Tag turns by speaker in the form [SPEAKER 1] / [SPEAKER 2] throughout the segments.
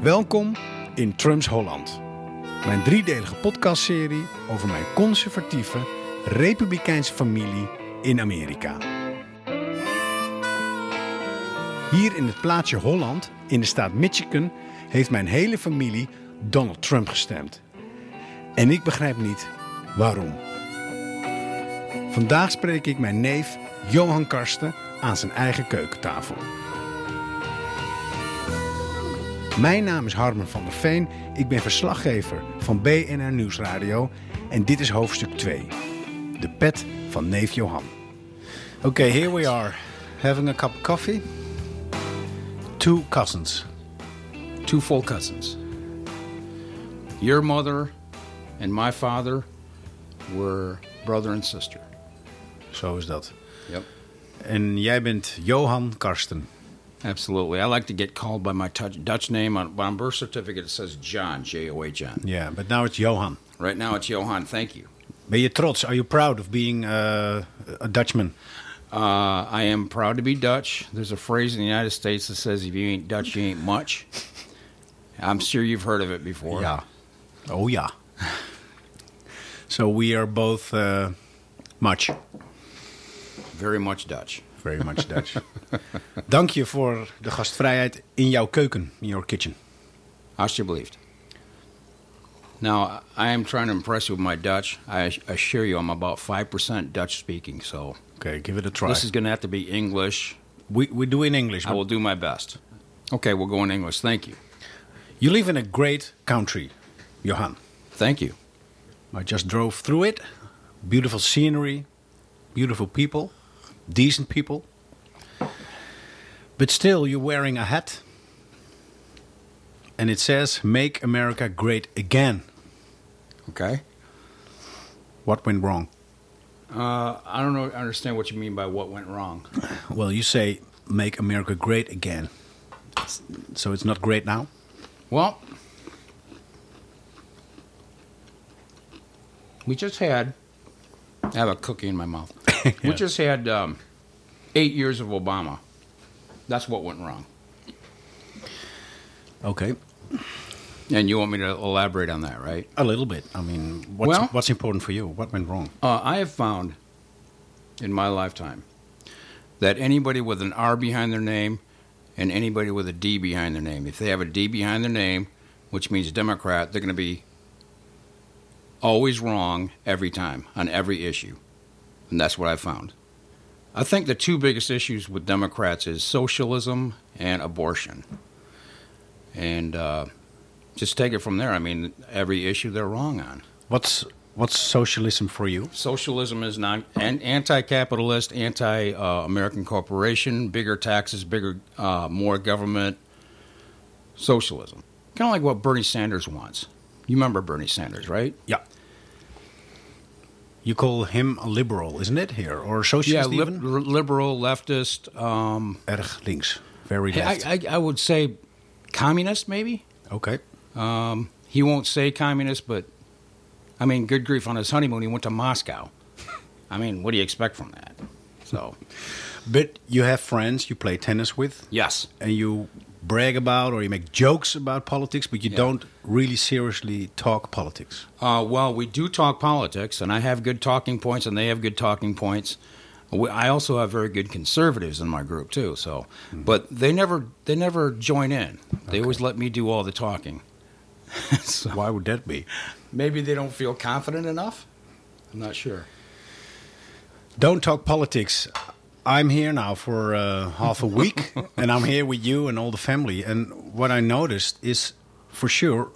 [SPEAKER 1] Welkom in Trumps Holland. Mijn driedelige podcastserie over mijn conservatieve, republikeinse familie in Amerika. Hier in het plaatsje Holland, in de staat Michigan, heeft mijn hele familie Donald Trump gestemd. En ik begrijp niet waarom. Vandaag spreek ik mijn neef Johan Karsten aan zijn eigen keukentafel. Mijn naam is Harmen van der Veen. Ik ben verslaggever van BNR Nieuwsradio. En dit is hoofdstuk 2. De pet van neef Johan. Oké, here we are. Having a cup of coffee. Two cousins.
[SPEAKER 2] two full cousins. Your mother and my father were brother and sister.
[SPEAKER 1] Zo is dat.
[SPEAKER 2] Yep.
[SPEAKER 1] En jij bent Johan Karsten.
[SPEAKER 2] Absolutely. I like to get called by my touch, Dutch name. On, on birth certificate, it says John, J O A John.
[SPEAKER 1] Ja, but now it's Johan.
[SPEAKER 2] Right now, it's Johan. Thank you.
[SPEAKER 1] Ben je trots? Are you proud of being uh, a Dutchman?
[SPEAKER 2] Uh, I am proud to be Dutch. There's a phrase in the United States that says, if you ain't Dutch, you ain't much. I'm sure you've heard of it before.
[SPEAKER 1] Oh ja. So we are both uh, much.
[SPEAKER 2] Very much Dutch.
[SPEAKER 1] Very much Dutch. Dank je voor de gastvrijheid in jouw keuken, in your kitchen.
[SPEAKER 2] Alsjeblieft. Now, I am trying to impress you with my Dutch. I assure you, I'm about 5% Dutch speaking, so
[SPEAKER 1] Okay, give it a try.
[SPEAKER 2] this is going to have to be English.
[SPEAKER 1] we, we do in English.
[SPEAKER 2] I
[SPEAKER 1] but
[SPEAKER 2] will do my best. Okay, we'll go in English. Thank you.
[SPEAKER 1] You live in a great country, Johan.
[SPEAKER 2] Thank you.
[SPEAKER 1] I just drove through it. Beautiful scenery, beautiful people, decent people. But still, you're wearing a hat. And it says, Make America Great Again.
[SPEAKER 2] Okay.
[SPEAKER 1] What went wrong?
[SPEAKER 2] Uh, I don't know, understand what you mean by what went wrong.
[SPEAKER 1] Well, you say, Make America Great Again. So it's not great now?
[SPEAKER 2] Well, we just had. I have a cookie in my mouth. We
[SPEAKER 1] Yeah.
[SPEAKER 2] just had um, eight years of Obama. That's what went wrong.
[SPEAKER 1] Okay.
[SPEAKER 2] And you want me to elaborate on that, right?
[SPEAKER 1] A little bit. I mean, what's,
[SPEAKER 2] Well-
[SPEAKER 1] what's important for you? What went wrong?
[SPEAKER 2] Uh, I have found in my lifetime that anybody with an R behind their name and anybody with a D behind their name, if they have a D behind their name, which means Democrat, they're going to be always wrong every time on every issue. And that's what I found. I think the two biggest issues with Democrats is socialism and abortion. And uh, just take it from there. I mean, every issue they're wrong on.
[SPEAKER 1] What's, what's socialism for you?
[SPEAKER 2] Socialism is non an anti-capitalist, anti-American corporation, bigger taxes, bigger, uh, more government. Socialism, kind of like what Bernie Sanders wants. You remember Bernie Sanders, right?
[SPEAKER 1] Yeah. You call him a liberal, isn't it? Here or a socialist
[SPEAKER 2] yeah,
[SPEAKER 1] even?
[SPEAKER 2] lib- liberal, leftist. Um,
[SPEAKER 1] Erg links, very
[SPEAKER 2] I,
[SPEAKER 1] left.
[SPEAKER 2] I, I would say communist, maybe.
[SPEAKER 1] okay.
[SPEAKER 2] Um, he won't say communist, but I mean, good grief! On his honeymoon, he went to Moscow. I mean, what do you expect from that? So,
[SPEAKER 1] But you have friends you play tennis with,
[SPEAKER 2] yes.
[SPEAKER 1] and you brag about or you make jokes about politics, but you
[SPEAKER 2] Yeah.
[SPEAKER 1] don't really seriously talk politics.
[SPEAKER 2] Uh, well, we do talk politics, and I have good talking points, and they have good talking points. We, I also have very good conservatives in my group too. So, but they never they never join in. They always let me do all the talking. so
[SPEAKER 1] Why would that be?
[SPEAKER 2] maybe they don't feel confident enough. I'm not sure.
[SPEAKER 1] Don't talk politics. I'm here now for uh, half a week, and I'm here with you and all the family. And what I noticed is, for sure,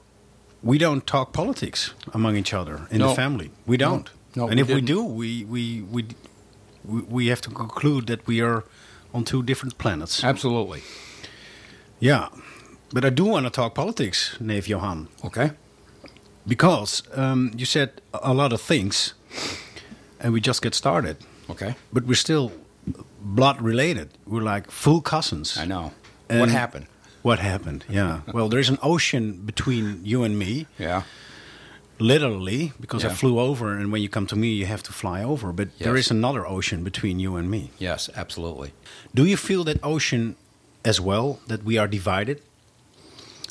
[SPEAKER 1] we don't talk politics among each other in the
[SPEAKER 2] No.
[SPEAKER 1] family. We
[SPEAKER 2] No.
[SPEAKER 1] don't.
[SPEAKER 2] No,
[SPEAKER 1] and
[SPEAKER 2] we
[SPEAKER 1] if we
[SPEAKER 2] didn't.
[SPEAKER 1] do, we we we d- we we have to conclude that we are on two different
[SPEAKER 2] Uh,
[SPEAKER 1] planets.
[SPEAKER 2] Absolutely.
[SPEAKER 1] yeah, but I do want to talk politics, Nave Johan
[SPEAKER 2] Okay.
[SPEAKER 1] because um, you said a lot of things, and we just get started.
[SPEAKER 2] Okay.
[SPEAKER 1] But we're still blood related. We're like full cousins.
[SPEAKER 2] I know.
[SPEAKER 1] And-
[SPEAKER 2] what happened?
[SPEAKER 1] What happened? Yeah. well, there's an ocean between you and me,
[SPEAKER 2] Yeah.
[SPEAKER 1] literally, because I
[SPEAKER 2] Yeah.
[SPEAKER 1] flew over, and when you come to me, you have to fly over. But there
[SPEAKER 2] Yes.
[SPEAKER 1] is another ocean between you and me.
[SPEAKER 2] Yes. Absolutely.
[SPEAKER 1] Do you feel that ocean as well? That we are divided?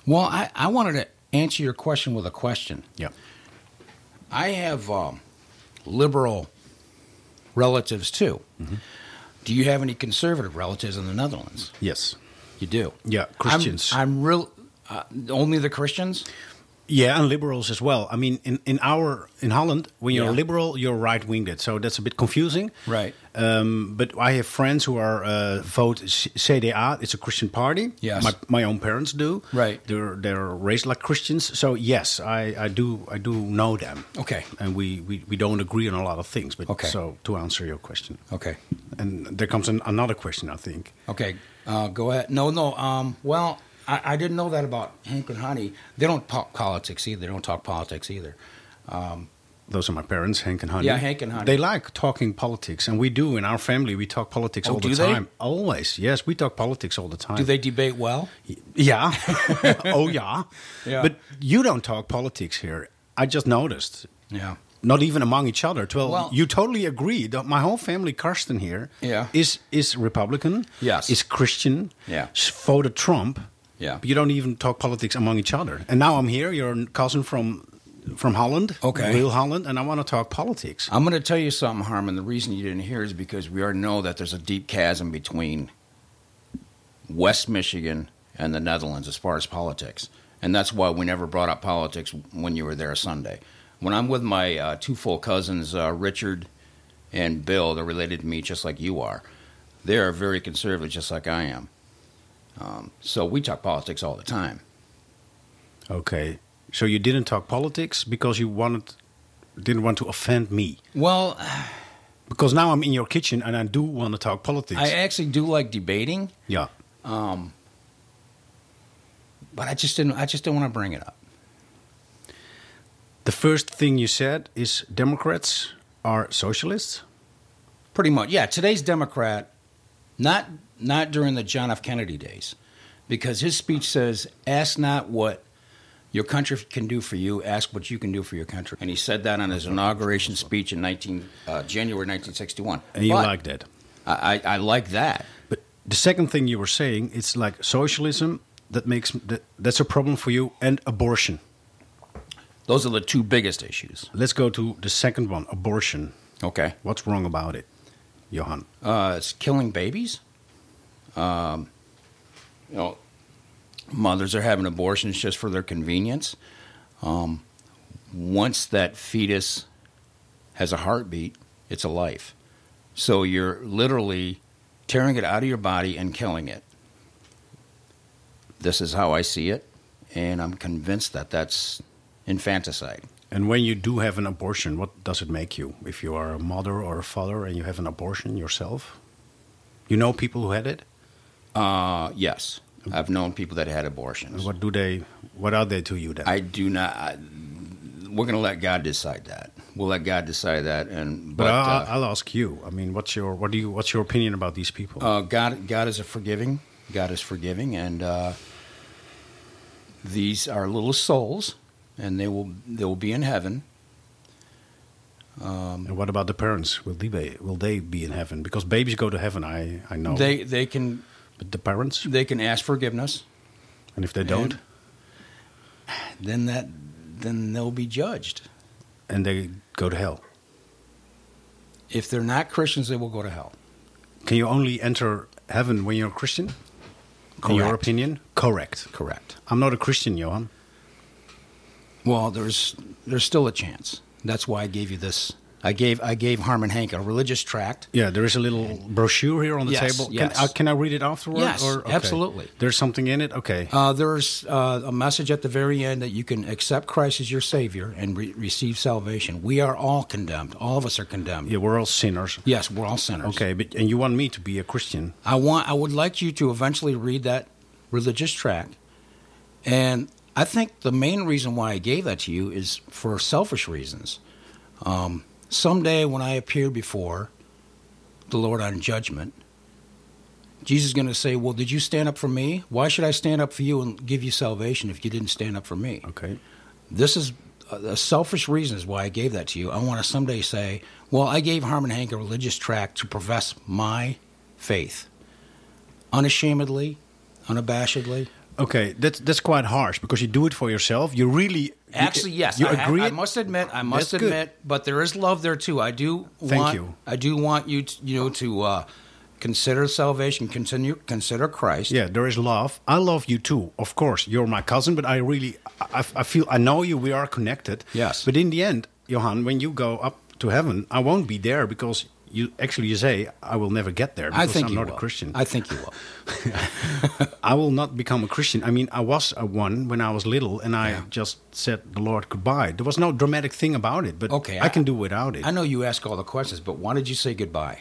[SPEAKER 2] Well, I, I wanted to answer your question with a question.
[SPEAKER 1] Yeah.
[SPEAKER 2] I have um, liberal relatives too. Do you have any conservative relatives in the Netherlands?
[SPEAKER 1] Yes.
[SPEAKER 2] You do.
[SPEAKER 1] Yeah,
[SPEAKER 2] I'm-
[SPEAKER 1] Christians.
[SPEAKER 2] I'm, real. Uh, only the Christians.
[SPEAKER 1] Yeah, and liberals as well. I mean, in, in our in Holland, when you're
[SPEAKER 2] Yeah.
[SPEAKER 1] a liberal, you're right winged. So that's a bit confusing.
[SPEAKER 2] Right.
[SPEAKER 1] Um, but I have friends who are uh, vote C- CDA. It's a Christian party.
[SPEAKER 2] Yes.
[SPEAKER 1] My, my own parents do.
[SPEAKER 2] Right.
[SPEAKER 1] They're they're raised like Christians. So yes, I, I do I do know them.
[SPEAKER 2] Okay.
[SPEAKER 1] And we, we, we don't agree on a lot of things. But
[SPEAKER 2] Okay.
[SPEAKER 1] so to answer your question,
[SPEAKER 2] Okay.
[SPEAKER 1] and there comes an, another question. I think.
[SPEAKER 2] Okay. Uh, go ahead. No, no. Um, well, I, I didn't know that about Hank and Honey. They don't talk politics either. They don't talk politics either.
[SPEAKER 1] Those are my parents, Hank and Honey.
[SPEAKER 2] Yeah, Henk and Honey.
[SPEAKER 1] They like talking politics, and we do in our family. We talk politics
[SPEAKER 2] Oh,
[SPEAKER 1] all the
[SPEAKER 2] do they?
[SPEAKER 1] time. Always, yes, we talk politics all the time.
[SPEAKER 2] Do they debate well?
[SPEAKER 1] Yeah. oh yeah.
[SPEAKER 2] Yeah.
[SPEAKER 1] But you don't talk politics here. I just noticed.
[SPEAKER 2] Yeah.
[SPEAKER 1] Not even among each other. Well,
[SPEAKER 2] Well-
[SPEAKER 1] you totally agree. that My whole family, Karsten here, is
[SPEAKER 2] Yeah.
[SPEAKER 1] is Republican.
[SPEAKER 2] Yes.
[SPEAKER 1] Is Christian.
[SPEAKER 2] Yeah.
[SPEAKER 1] s- Voted Trump.
[SPEAKER 2] Yeah.
[SPEAKER 1] But you don't even talk politics among each other. And now I'm here. You're a cousin from from Holland.
[SPEAKER 2] Okay.
[SPEAKER 1] Real Holland, and I want to talk politics.
[SPEAKER 2] I'm going to tell you something, Harmon. The reason you didn't hear is because we already know that there's a deep chasm between West Michigan and the Netherlands as far as politics. And that's why we never brought up politics when you were there Sunday. When I'm with my uh, two full cousins, uh, Richard and Bill, they're related to me just like you are. They are very conservative, just like I am. Um, so we talk politics all the time.
[SPEAKER 1] Okay. So you didn't talk politics because you wanted didn't want to offend me.
[SPEAKER 2] Well,
[SPEAKER 1] Because now I'm in your kitchen and I do want to talk politics.
[SPEAKER 2] I actually do like debating.
[SPEAKER 1] yeah.
[SPEAKER 2] Um, but I just didn't. I just didn't want to bring it up.
[SPEAKER 1] The first thing you said is Democrats are socialists.
[SPEAKER 2] Pretty much, yeah. Today's Democrat, not not during the John F. Kennedy days, because his speech says, "Ask not what your country can do for you, ask what you can do for your country." And he said that on his inauguration speech in 19 uh, January 1961.
[SPEAKER 1] And you
[SPEAKER 2] But
[SPEAKER 1] like that.
[SPEAKER 2] I, I I like that.
[SPEAKER 1] But the second thing you were saying, it's like socialism that makes that, that's a problem for you and abortion.
[SPEAKER 2] Those are the two biggest issues.
[SPEAKER 1] Let's go to the second one, abortion.
[SPEAKER 2] Okay.
[SPEAKER 1] What's wrong about it, Johan?
[SPEAKER 2] uh, it's killing babies. Um, you know, mothers are having abortions just for their convenience. Um, once that fetus has a heartbeat, it's a life. So you're literally tearing it out of your body and killing it. This is how I see it, and I'm convinced that that's infanticide.
[SPEAKER 1] And when you do have an abortion, what does it make you? If you are a mother or a father and you have an abortion yourself? You know people who had it?
[SPEAKER 2] Uh, yes, I've known people that had abortions.
[SPEAKER 1] And what do they what are they to you then?
[SPEAKER 2] I do not. I, we're going to let God decide that. We'll let God decide that. And
[SPEAKER 1] but
[SPEAKER 2] but
[SPEAKER 1] I'll,
[SPEAKER 2] uh,
[SPEAKER 1] I'll ask you. I mean, what's your what do you what's your opinion about these people?
[SPEAKER 2] uh, God, God is a forgiving. God is forgiving, and uh, these are little souls, and they will they will be in heaven.
[SPEAKER 1] And what about the parents? Will they be, will they be in heaven? Because babies go to heaven. I, I know.
[SPEAKER 2] They they can
[SPEAKER 1] but the parents,
[SPEAKER 2] they can ask forgiveness.
[SPEAKER 1] and if they don't,
[SPEAKER 2] And- Then that then they'll be judged.
[SPEAKER 1] and they go to hell.
[SPEAKER 2] If they're not Christians, they will go to hell.
[SPEAKER 1] Can you only enter heaven when you're a Christian? In your
[SPEAKER 2] Correct.
[SPEAKER 1] opinion, correct.
[SPEAKER 2] Correct.
[SPEAKER 1] I'm not a Christian, Johan.
[SPEAKER 2] Well, there's there's still a chance. That's why I gave you this. I gave I gave Harmon Hank a religious tract.
[SPEAKER 1] Yeah, there is a little brochure here on the
[SPEAKER 2] Yes,
[SPEAKER 1] table.
[SPEAKER 2] yes.
[SPEAKER 1] Can, I, can I read it afterward?
[SPEAKER 2] Yes,
[SPEAKER 1] or, okay.
[SPEAKER 2] absolutely.
[SPEAKER 1] There's something in it. Okay.
[SPEAKER 2] Uh, there's uh, a message at the very end that you can accept Christ as your Savior and re- receive salvation. We are all condemned. All of us are condemned.
[SPEAKER 1] yeah, we're all sinners.
[SPEAKER 2] Yes, we're all sinners.
[SPEAKER 1] Okay, but and you want me to be a Christian?
[SPEAKER 2] I want. I would like you to eventually read that religious tract, and I think the main reason why I gave that to you is for selfish reasons. Um, someday, when I appear before the Lord on judgment, Jesus is going to say, "Well, did you stand up for me? Why should I stand up for you and give you salvation if you didn't stand up for me?"
[SPEAKER 1] Okay.
[SPEAKER 2] this is a selfish reason is why I gave that to you. I want to someday say, well, I gave Harmon Hank a religious tract to profess my faith unashamedly, unabashedly.
[SPEAKER 1] Okay, that's that's quite harsh because you do it for yourself. You really
[SPEAKER 2] Actually, yes,
[SPEAKER 1] You
[SPEAKER 2] I, I-
[SPEAKER 1] agree.
[SPEAKER 2] I must admit, I must
[SPEAKER 1] That's good.
[SPEAKER 2] admit, but there is love there too. I do
[SPEAKER 1] Thank
[SPEAKER 2] want,
[SPEAKER 1] you.
[SPEAKER 2] I do want you, to, you know, to uh, consider salvation, continue, consider Christ.
[SPEAKER 1] yeah, there is love. I love you too, of course. You're my cousin, but I really, I, I feel, I know you. We are connected.
[SPEAKER 2] Yes.
[SPEAKER 1] But in the end, Johan, when you go up to heaven, I won't be there because you actually you say I will never get there
[SPEAKER 2] I
[SPEAKER 1] because
[SPEAKER 2] think
[SPEAKER 1] I'm
[SPEAKER 2] you
[SPEAKER 1] not
[SPEAKER 2] will.
[SPEAKER 1] a Christian.
[SPEAKER 2] I think you will.
[SPEAKER 1] I will not become a Christian. I mean, I was a one when I was little, and I just said the Lord goodbye. There was no dramatic thing about it, but
[SPEAKER 2] Okay,
[SPEAKER 1] I,
[SPEAKER 2] I-
[SPEAKER 1] can do without it
[SPEAKER 2] I know you ask all the questions, but why did you say goodbye?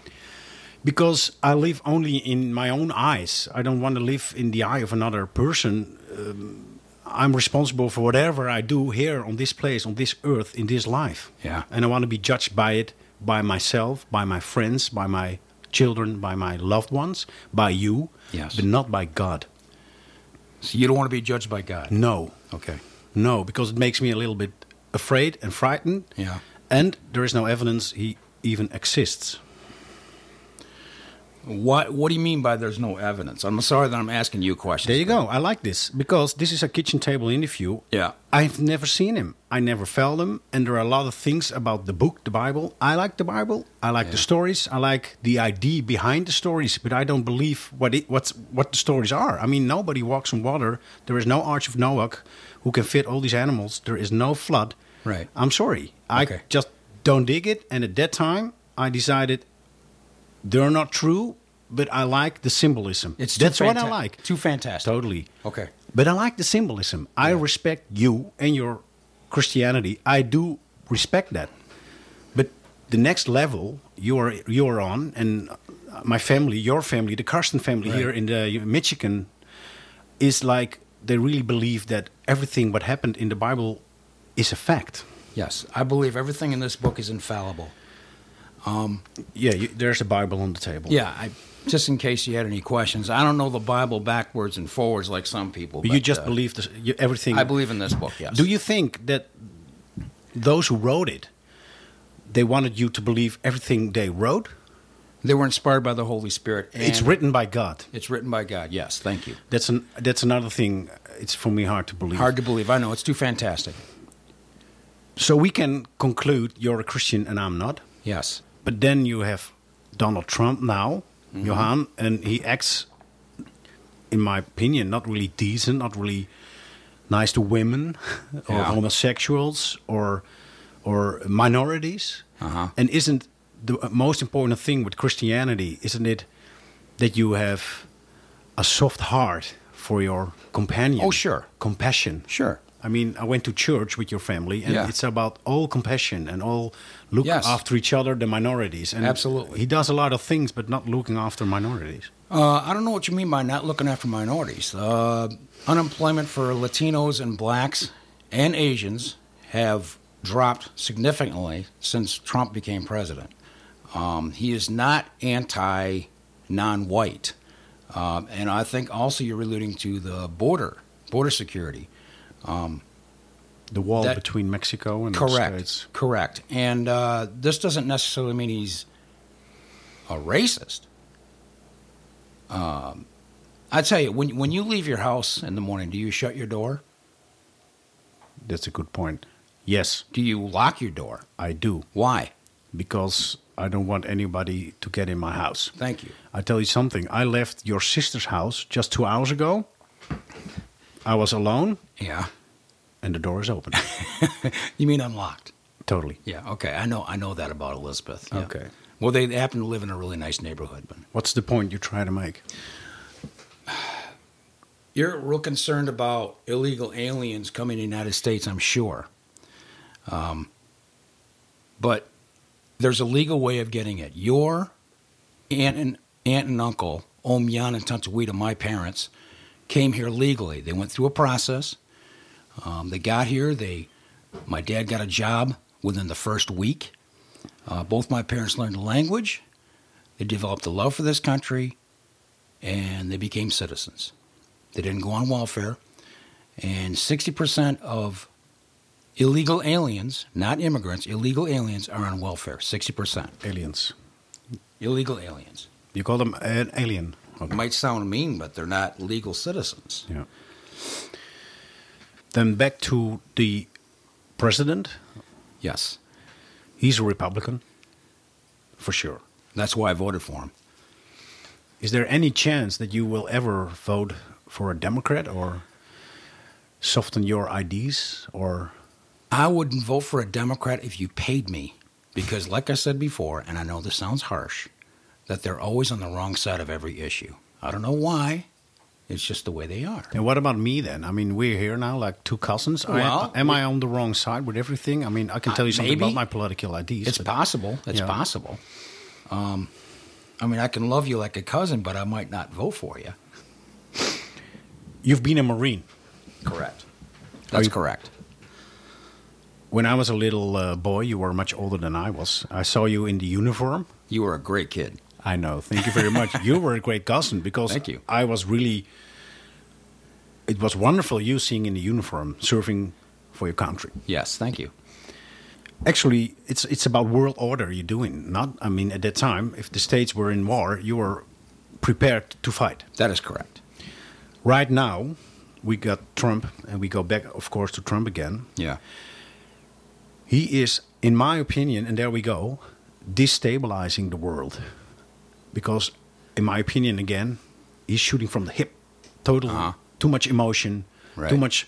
[SPEAKER 1] because I live only in my own eyes. I don't want to live in the eye of another person. Um, I'm responsible for whatever I do here on this place, on this earth, in this life.
[SPEAKER 2] Yeah.
[SPEAKER 1] and I want to be judged by it, by myself, by my friends, by my children, by my loved ones, by you.
[SPEAKER 2] Yes.
[SPEAKER 1] but not by God.
[SPEAKER 2] So you don't want to be judged by God.
[SPEAKER 1] No.
[SPEAKER 2] Okay.
[SPEAKER 1] No, because it makes me a little bit afraid and frightened.
[SPEAKER 2] Yeah.
[SPEAKER 1] And there is no evidence he even exists.
[SPEAKER 2] What What do you mean by there's no evidence? I'm sorry that I'm asking you questions.
[SPEAKER 1] There you go. I like this because this is a kitchen table interview.
[SPEAKER 2] Yeah.
[SPEAKER 1] I've never seen him. I never felt him. And there are a lot of things about the book, the Bible. I like the Bible. I like the stories. I like the idea behind the stories, but I don't believe what it, what's what the stories are. I mean, nobody walks on water. There is no Arch of Noah who can fit all these animals. There is no flood.
[SPEAKER 2] Right.
[SPEAKER 1] I'm sorry. I
[SPEAKER 2] Okay.
[SPEAKER 1] just don't dig it. And at that time, I decided they're not true. But I like the symbolism.
[SPEAKER 2] It's too
[SPEAKER 1] that's what I
[SPEAKER 2] fanta-
[SPEAKER 1] like.
[SPEAKER 2] Too fantastic.
[SPEAKER 1] Totally.
[SPEAKER 2] Okay.
[SPEAKER 1] But I like the symbolism. I respect you and your Christianity. I do respect that. But the next level you're you're on, and my family, your family, the Karsten family
[SPEAKER 2] Right.
[SPEAKER 1] here in the Michigan, is like they really believe that everything what happened in the Bible is a fact.
[SPEAKER 2] Yes, I believe everything in this book is infallible.
[SPEAKER 1] Yeah, you, there's a Bible on the table.
[SPEAKER 2] Yeah, I, just in case you had any questions, I don't know the Bible backwards and forwards like some people.
[SPEAKER 1] but you
[SPEAKER 2] but,
[SPEAKER 1] just
[SPEAKER 2] uh,
[SPEAKER 1] believe this, you, everything.
[SPEAKER 2] I believe in this book. Yes.
[SPEAKER 1] Do you think that those who wrote it, they wanted you to believe everything they wrote?
[SPEAKER 2] They were inspired by the Holy Spirit. And
[SPEAKER 1] it's written by God.
[SPEAKER 2] It's written by God. Yes. Thank you.
[SPEAKER 1] That's an that's another thing. It's for me hard to believe.
[SPEAKER 2] Hard to believe. I know it's too fantastic.
[SPEAKER 1] So we can conclude you're a Christian and I'm not.
[SPEAKER 2] Yes.
[SPEAKER 1] But then you have Donald Trump now,
[SPEAKER 2] Mhm.
[SPEAKER 1] Johan, and he acts, in my opinion, not really decent, not really nice to women or
[SPEAKER 2] Yeah.
[SPEAKER 1] homosexuals or or minorities.
[SPEAKER 2] Uh-huh.
[SPEAKER 1] And isn't the most important thing with Christianity, isn't it, that you have a soft heart for your companion?
[SPEAKER 2] Oh, sure.
[SPEAKER 1] Compassion.
[SPEAKER 2] Sure.
[SPEAKER 1] I mean, I went to church with your family, and
[SPEAKER 2] Yeah.
[SPEAKER 1] it's about all compassion and all look
[SPEAKER 2] Yes.
[SPEAKER 1] after each other, the minorities. And
[SPEAKER 2] Absolutely.
[SPEAKER 1] he does a lot of things, but not looking after minorities.
[SPEAKER 2] Uh, I don't know what you mean by not looking after minorities. Uh, unemployment for Latinos and blacks and Asians have dropped significantly since Trump became president. Um, he is not anti non white. Um, and I think also you're alluding to the border, border security.
[SPEAKER 1] The wall
[SPEAKER 2] That-
[SPEAKER 1] between Mexico and
[SPEAKER 2] Correct.
[SPEAKER 1] the states.
[SPEAKER 2] Correct. And uh, this doesn't necessarily mean he's a racist. Um, I tell you, when when you leave your house in the morning, do you shut your door?
[SPEAKER 1] That's a good point. Yes,
[SPEAKER 2] Do you lock your door?
[SPEAKER 1] I do
[SPEAKER 2] Why?
[SPEAKER 1] because I don't want anybody to get in my house.
[SPEAKER 2] Thank you.
[SPEAKER 1] I tell you something. I left your sister's house just two hours ago. I was alone,
[SPEAKER 2] Yeah.
[SPEAKER 1] and the door is open.
[SPEAKER 2] You mean unlocked?
[SPEAKER 1] totally.
[SPEAKER 2] Yeah. Okay. I know. I know that about Elizabeth. Yeah.
[SPEAKER 1] Okay.
[SPEAKER 2] Well, they happen to live in a really nice neighborhood, but
[SPEAKER 1] What's the point you try to make?
[SPEAKER 2] You're real concerned about illegal aliens coming to the United States, I'm sure. Um, but there's a legal way of getting it. Your aunt and aunt and uncle, Om Jan and Tantawita, my parents, came here legally. They went through a process. Um, they got here. They, my dad got a job within the first week. Uh, both my parents learned the language. They developed a love for this country, and they became citizens. They didn't go on welfare. And 60% of illegal aliens, not immigrants, illegal aliens are on welfare. 60%.
[SPEAKER 1] Aliens.
[SPEAKER 2] Illegal aliens.
[SPEAKER 1] You call them an alien. Okay.
[SPEAKER 2] Might sound mean, but they're not legal citizens.
[SPEAKER 1] Yeah. Then back to the president.
[SPEAKER 2] Yes.
[SPEAKER 1] He's a Republican, for sure.
[SPEAKER 2] That's why I voted for him.
[SPEAKER 1] Is there any chance that you will ever vote for a Democrat or soften your IDs or
[SPEAKER 2] I wouldn't vote for a Democrat if you paid me. Because, like I said before, and I know this sounds harsh, that they're always on the wrong side of every issue. I don't know why. It's just the way they are.
[SPEAKER 1] And what about me then? I mean, we're here now like two cousins. I-
[SPEAKER 2] Well,
[SPEAKER 1] am I on the wrong side with everything? I mean, I can
[SPEAKER 2] Uh,
[SPEAKER 1] tell you something
[SPEAKER 2] maybe.
[SPEAKER 1] about my political IDs.
[SPEAKER 2] It's
[SPEAKER 1] but-
[SPEAKER 2] possible. It's
[SPEAKER 1] Yeah.
[SPEAKER 2] possible. Um, I mean, I can love you like a cousin, but I might not vote for you.
[SPEAKER 1] You've been a Marine.
[SPEAKER 2] Correct. That's
[SPEAKER 1] you-
[SPEAKER 2] correct.
[SPEAKER 1] When I was a little uh, boy, you were much older than I was. I saw you in the uniform.
[SPEAKER 2] You were a great kid.
[SPEAKER 1] I know. Thank you very much. you were a great cousin because
[SPEAKER 2] Thank you.
[SPEAKER 1] I was really. It was wonderful you seeing in the uniform serving for your country.
[SPEAKER 2] Yes, thank you.
[SPEAKER 1] Actually, it's it's about world order you're doing. Not, I mean, at that time, if the states were in war, you were prepared to fight.
[SPEAKER 2] That is correct.
[SPEAKER 1] Right now, we got Trump, and we go back, of course, to Trump again.
[SPEAKER 2] Yeah.
[SPEAKER 1] He is, in my opinion, and there we go, destabilizing the world. Because, in my opinion, again, he's shooting from the hip. Total,
[SPEAKER 2] Uh-huh.
[SPEAKER 1] too much emotion,
[SPEAKER 2] Right.
[SPEAKER 1] too much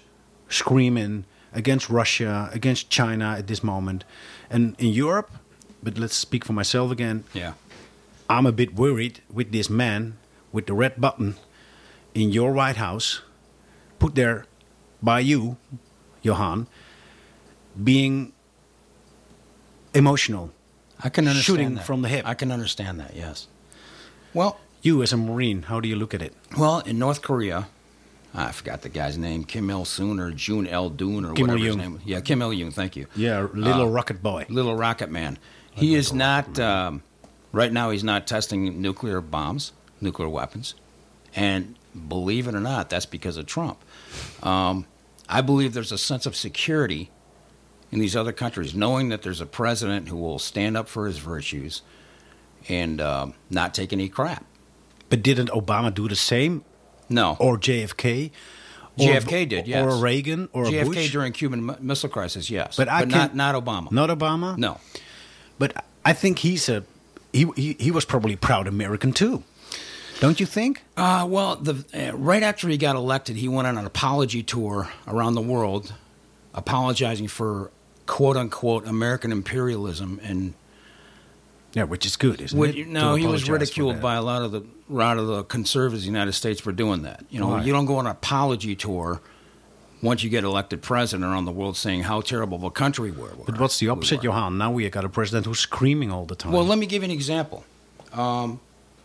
[SPEAKER 1] screaming against Russia, against China at this moment. And in Europe, but let's speak for myself again,
[SPEAKER 2] Yeah.
[SPEAKER 1] I'm a bit worried with this man with the red button in your White House, put there by you, Johan, being emotional.
[SPEAKER 2] I can understand
[SPEAKER 1] Shooting
[SPEAKER 2] that.
[SPEAKER 1] from the hip.
[SPEAKER 2] I can understand that, yes. Well,
[SPEAKER 1] You, as a Marine, how do you look at it?
[SPEAKER 2] Well, in North Korea, I forgot the guy's name, Kim Il Sung or June El Doon or
[SPEAKER 1] Kim
[SPEAKER 2] whatever his
[SPEAKER 1] Il-young.
[SPEAKER 2] name. was. Yeah, Kim Il Yoon. Thank you.
[SPEAKER 1] Yeah, little rocket boy.
[SPEAKER 2] Little Rocket Man. He is not. Um, right now, he's not testing nuclear bombs, nuclear weapons, and believe it or not, that's because of Trump. Um, I believe there's a sense of security in these other countries, knowing that there's a president who will stand up for his virtues and um, not take any crap.
[SPEAKER 1] But didn't Obama do the same,
[SPEAKER 2] No,
[SPEAKER 1] or JFK? Or
[SPEAKER 2] JFK did, yes.
[SPEAKER 1] Or Reagan, or
[SPEAKER 2] JFK
[SPEAKER 1] Bush?
[SPEAKER 2] during Cuban mi- Missile Crisis, yes,
[SPEAKER 1] But I
[SPEAKER 2] not
[SPEAKER 1] can-
[SPEAKER 2] not Obama.
[SPEAKER 1] Not Obama?
[SPEAKER 2] no,
[SPEAKER 1] But I think he's a. He, he, he was probably proud American too. Don't you think?
[SPEAKER 2] Uh, well, the, uh, right after he got elected, he went on an apology tour around the world, apologizing for "quote unquote" American imperialism, and
[SPEAKER 1] Yeah, which is good, isn't
[SPEAKER 2] would-
[SPEAKER 1] it?
[SPEAKER 2] no,
[SPEAKER 1] To
[SPEAKER 2] he was
[SPEAKER 1] apologize for
[SPEAKER 2] ridiculed
[SPEAKER 1] that.
[SPEAKER 2] by a lot of the a lot of the conservatives in the United States for doing that. You know,
[SPEAKER 1] Right.
[SPEAKER 2] you don't go on an apology tour once you get elected president around the world, saying how terrible of a country we were.
[SPEAKER 1] But what's the
[SPEAKER 2] we
[SPEAKER 1] opposite,
[SPEAKER 2] were.
[SPEAKER 1] Johan? Now we got a president who's screaming all the time.
[SPEAKER 2] Well, let me give you an example. Um,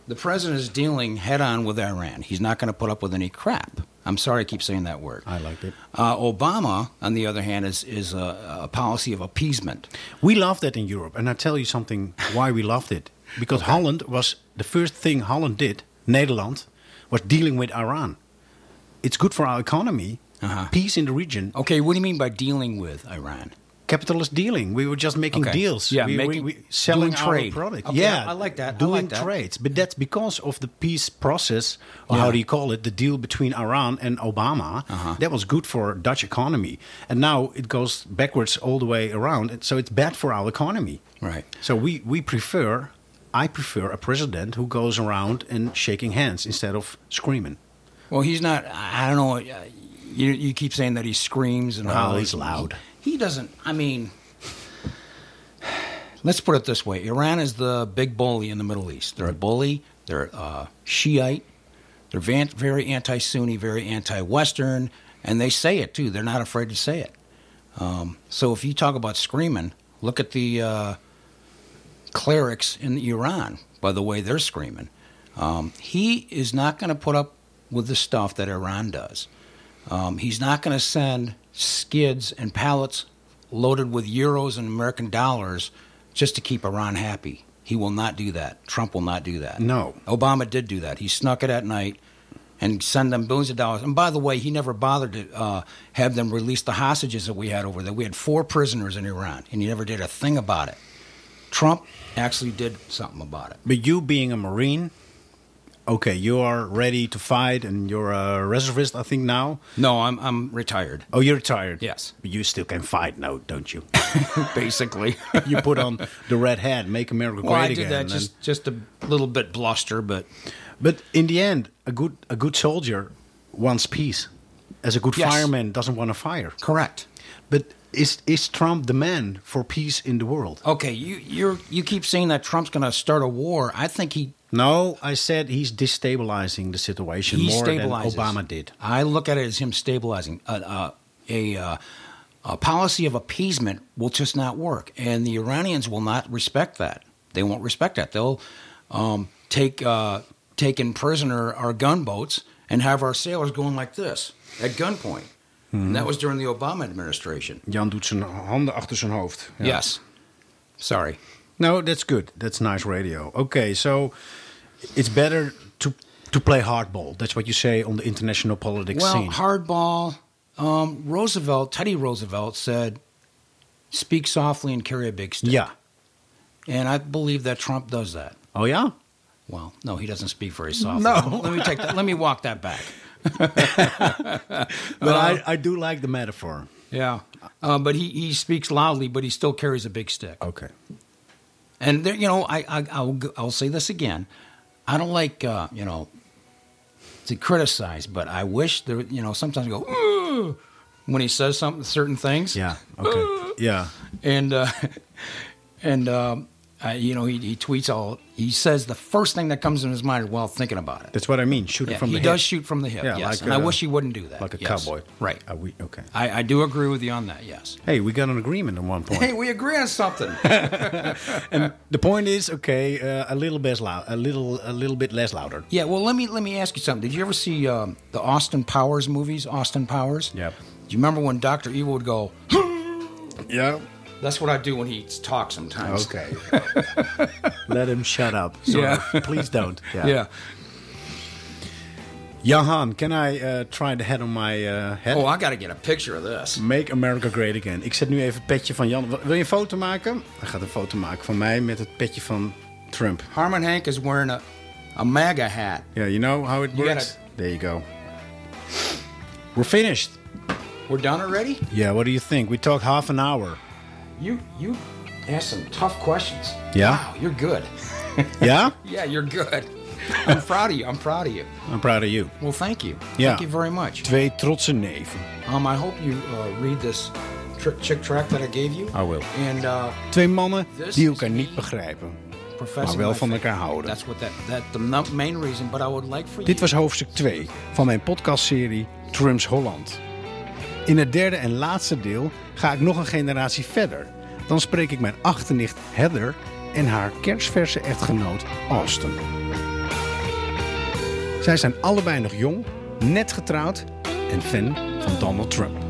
[SPEAKER 2] the president is dealing head on with Iran. He's not going to put up with any crap. I'm sorry I keep saying that word.
[SPEAKER 1] I liked it.
[SPEAKER 2] Uh, Obama, on the other hand, is, is a, a policy of appeasement.
[SPEAKER 1] We loved that in Europe, and I tell you something why we loved it. Because Holland was the first thing Holland did, Nederland, was dealing with Iran. It's good for our economy,
[SPEAKER 2] Uh-huh.
[SPEAKER 1] peace in the region,
[SPEAKER 2] Okay, what do you mean by dealing with Iran?
[SPEAKER 1] capitalist dealing. We were just making
[SPEAKER 2] Okay.
[SPEAKER 1] deals.
[SPEAKER 2] Yeah,
[SPEAKER 1] we,
[SPEAKER 2] making-
[SPEAKER 1] we, we selling
[SPEAKER 2] doing
[SPEAKER 1] our
[SPEAKER 2] trade.
[SPEAKER 1] product.
[SPEAKER 2] Okay,
[SPEAKER 1] yeah,
[SPEAKER 2] I- I like that. I
[SPEAKER 1] Doing
[SPEAKER 2] like that.
[SPEAKER 1] trades, but that's because of the peace process, or how
[SPEAKER 2] Yeah.
[SPEAKER 1] do you call it, the deal between Iran and Obama.
[SPEAKER 2] Uh-huh.
[SPEAKER 1] That was good for Dutch economy, and now it goes backwards all the way around. and So it's bad for our economy.
[SPEAKER 2] Right.
[SPEAKER 1] So we we prefer. I prefer a president who goes around and shaking hands instead of screaming.
[SPEAKER 2] Well, he's not. I I don't know. uh, You, you keep saying that he screams and
[SPEAKER 1] Well,
[SPEAKER 2] howls.
[SPEAKER 1] Oh, he's loud.
[SPEAKER 2] He doesn't. I mean, let's put it this way: Iran is the big bully in the Middle East. They're a bully. They're uh, Shiite. They're van, very anti-Sunni, very anti-Western, and they say it too. They're not afraid to say it. Um, so if you talk about screaming, look at the uh, clerics in Iran. By the way, they're screaming. Um, he is not going to put up with the stuff that Iran does. Um, he's not going to send skids and pallets loaded with euros and American dollars just to keep Iran happy. He will not do that. Trump will not do that.
[SPEAKER 1] No.
[SPEAKER 2] Obama did do that. He snuck it at night and sent them billions of dollars. And by the way, he never bothered to uh, have them release the hostages that we had over there. We had four prisoners in Iran, and he never did a thing about it. Trump actually did something about it.
[SPEAKER 1] But you being a marine, okay, you are ready to fight and you're a reservist, I think, now.
[SPEAKER 2] No, I'm I'm retired.
[SPEAKER 1] Oh, you're retired.
[SPEAKER 2] Yes.
[SPEAKER 1] But you still can fight now, don't you?
[SPEAKER 2] Basically,
[SPEAKER 1] you put on the red hat, make America
[SPEAKER 2] well,
[SPEAKER 1] great
[SPEAKER 2] I did
[SPEAKER 1] again.
[SPEAKER 2] that
[SPEAKER 1] and-
[SPEAKER 2] just just a little bit bluster, but
[SPEAKER 1] but in the end, a good a good soldier wants peace. As a good
[SPEAKER 2] Yes.
[SPEAKER 1] fireman doesn't want a fire.
[SPEAKER 2] correct.
[SPEAKER 1] But is is Trump the man for peace in the world?
[SPEAKER 2] Okay, you you're you keep saying that Trump's going to start a war. I think he
[SPEAKER 1] No, I said he's destabilizing the situation
[SPEAKER 2] he
[SPEAKER 1] more
[SPEAKER 2] stabilizes.
[SPEAKER 1] than Obama did.
[SPEAKER 2] I look at it as him stabilizing. A uh, a, uh, a policy of appeasement will just not work, and the Iranians will not respect that. They won't respect that. They'll um, take uh, take in prisoner our gunboats and have our sailors going like this at gunpoint.
[SPEAKER 1] Hmm.
[SPEAKER 2] And that was during the Obama administration.
[SPEAKER 1] Jan doet zijn handen achter zijn hoofd. Ja.
[SPEAKER 2] Yes. Sorry.
[SPEAKER 1] No, that's good. That's nice radio. Okay, so it's better to to play hardball. That's what you say on the international politics
[SPEAKER 2] well,
[SPEAKER 1] scene.
[SPEAKER 2] hardball. Um, Roosevelt, Teddy Roosevelt said, "Speak softly and carry a big stick."
[SPEAKER 1] yeah.
[SPEAKER 2] And I believe that Trump does that.
[SPEAKER 1] Oh yeah.
[SPEAKER 2] Well, no, he doesn't speak very softly.
[SPEAKER 1] No.
[SPEAKER 2] let me take that. Let me walk that back. Uh,
[SPEAKER 1] But I, I do like the metaphor.
[SPEAKER 2] Yeah, uh, but he, he speaks loudly, but he still carries a big stick.
[SPEAKER 1] Okay.
[SPEAKER 2] And there, you know, I, I I'll g- I'll say this again. I don't like uh, you know to criticize, but I wish there. You know, sometimes I go "Ooh," when he says something, certain things.
[SPEAKER 1] Yeah. Okay. yeah.
[SPEAKER 2] and uh, and um, I, you know he, he tweets all. He says the first thing that comes in his mind while thinking about it.
[SPEAKER 1] That's what I mean. Shoot
[SPEAKER 2] Yeah,
[SPEAKER 1] it from
[SPEAKER 2] he
[SPEAKER 1] the
[SPEAKER 2] does
[SPEAKER 1] hip.
[SPEAKER 2] shoot from the hip.
[SPEAKER 1] Yeah,
[SPEAKER 2] yes,
[SPEAKER 1] like,
[SPEAKER 2] and I
[SPEAKER 1] uh,
[SPEAKER 2] wish he wouldn't do that.
[SPEAKER 1] like a
[SPEAKER 2] yes.
[SPEAKER 1] cowboy.
[SPEAKER 2] Right.
[SPEAKER 1] Are we okay?
[SPEAKER 2] I, I do agree with you on that. Yes.
[SPEAKER 1] Hey, we got an agreement on one point.
[SPEAKER 2] Hey, we agree on something.
[SPEAKER 1] the point is okay. Uh, a little bit loud. A little. A little bit less louder.
[SPEAKER 2] yeah. Well, let me let me ask you something. Did you ever see um, the Austin Powers movies? Austin Powers.
[SPEAKER 1] Yep.
[SPEAKER 2] Do you remember when Doctor Evil would go?
[SPEAKER 1] Yeah.
[SPEAKER 2] That's what I do when he talks sometimes.
[SPEAKER 1] Okay. Let him shut up. sort
[SPEAKER 2] Yeah.
[SPEAKER 1] of. Please don't.
[SPEAKER 2] Yeah.
[SPEAKER 1] Johan, can I uh, try the head on my eh, head?
[SPEAKER 2] Oh, I got to get a picture of this.
[SPEAKER 1] Make America Great Again. Ik zet nu even het petje van Jan. Wil je een foto maken? Hij gaat een foto maken van mij met het petje van Trump.
[SPEAKER 2] Harmon Hank is wearing a a MAGA hat.
[SPEAKER 1] Yeah, you know how it
[SPEAKER 2] You
[SPEAKER 1] works?
[SPEAKER 2] gotta-
[SPEAKER 1] There you go. We're finished.
[SPEAKER 2] We're done already.
[SPEAKER 1] Yeah, what do you think? We talked half an hour.
[SPEAKER 2] You you asked some tough questions.
[SPEAKER 1] Yeah.
[SPEAKER 2] Wow, you're good.
[SPEAKER 1] Yeah?
[SPEAKER 2] yeah, you're good. I'm proud of you. I'm proud of you.
[SPEAKER 1] I'm proud of you.
[SPEAKER 2] Well, thank you.
[SPEAKER 1] Yeah.
[SPEAKER 2] Thank you very much.
[SPEAKER 1] Twee trotse neven.
[SPEAKER 2] Um, I hope you uh, read this tri- chick track that I gave you.
[SPEAKER 1] I will.
[SPEAKER 2] And uh,
[SPEAKER 1] Twee mannen
[SPEAKER 2] This
[SPEAKER 1] die
[SPEAKER 2] is
[SPEAKER 1] elkaar
[SPEAKER 2] me.
[SPEAKER 1] niet begrijpen.
[SPEAKER 2] Professor.
[SPEAKER 1] Maar wel van
[SPEAKER 2] Mayfield.
[SPEAKER 1] elkaar houden.
[SPEAKER 2] That's what that that the no- main reason. But I would like for
[SPEAKER 1] Dit
[SPEAKER 2] you.
[SPEAKER 1] was hoofdstuk 2 van mijn podcastserie Trumps Holland. In het derde en laatste deel ga ik nog een generatie verder. Dan spreek ik mijn achternicht Heather en haar kerstverse echtgenoot Austin. Zij zijn allebei nog jong, net getrouwd en fan van Donald Trump.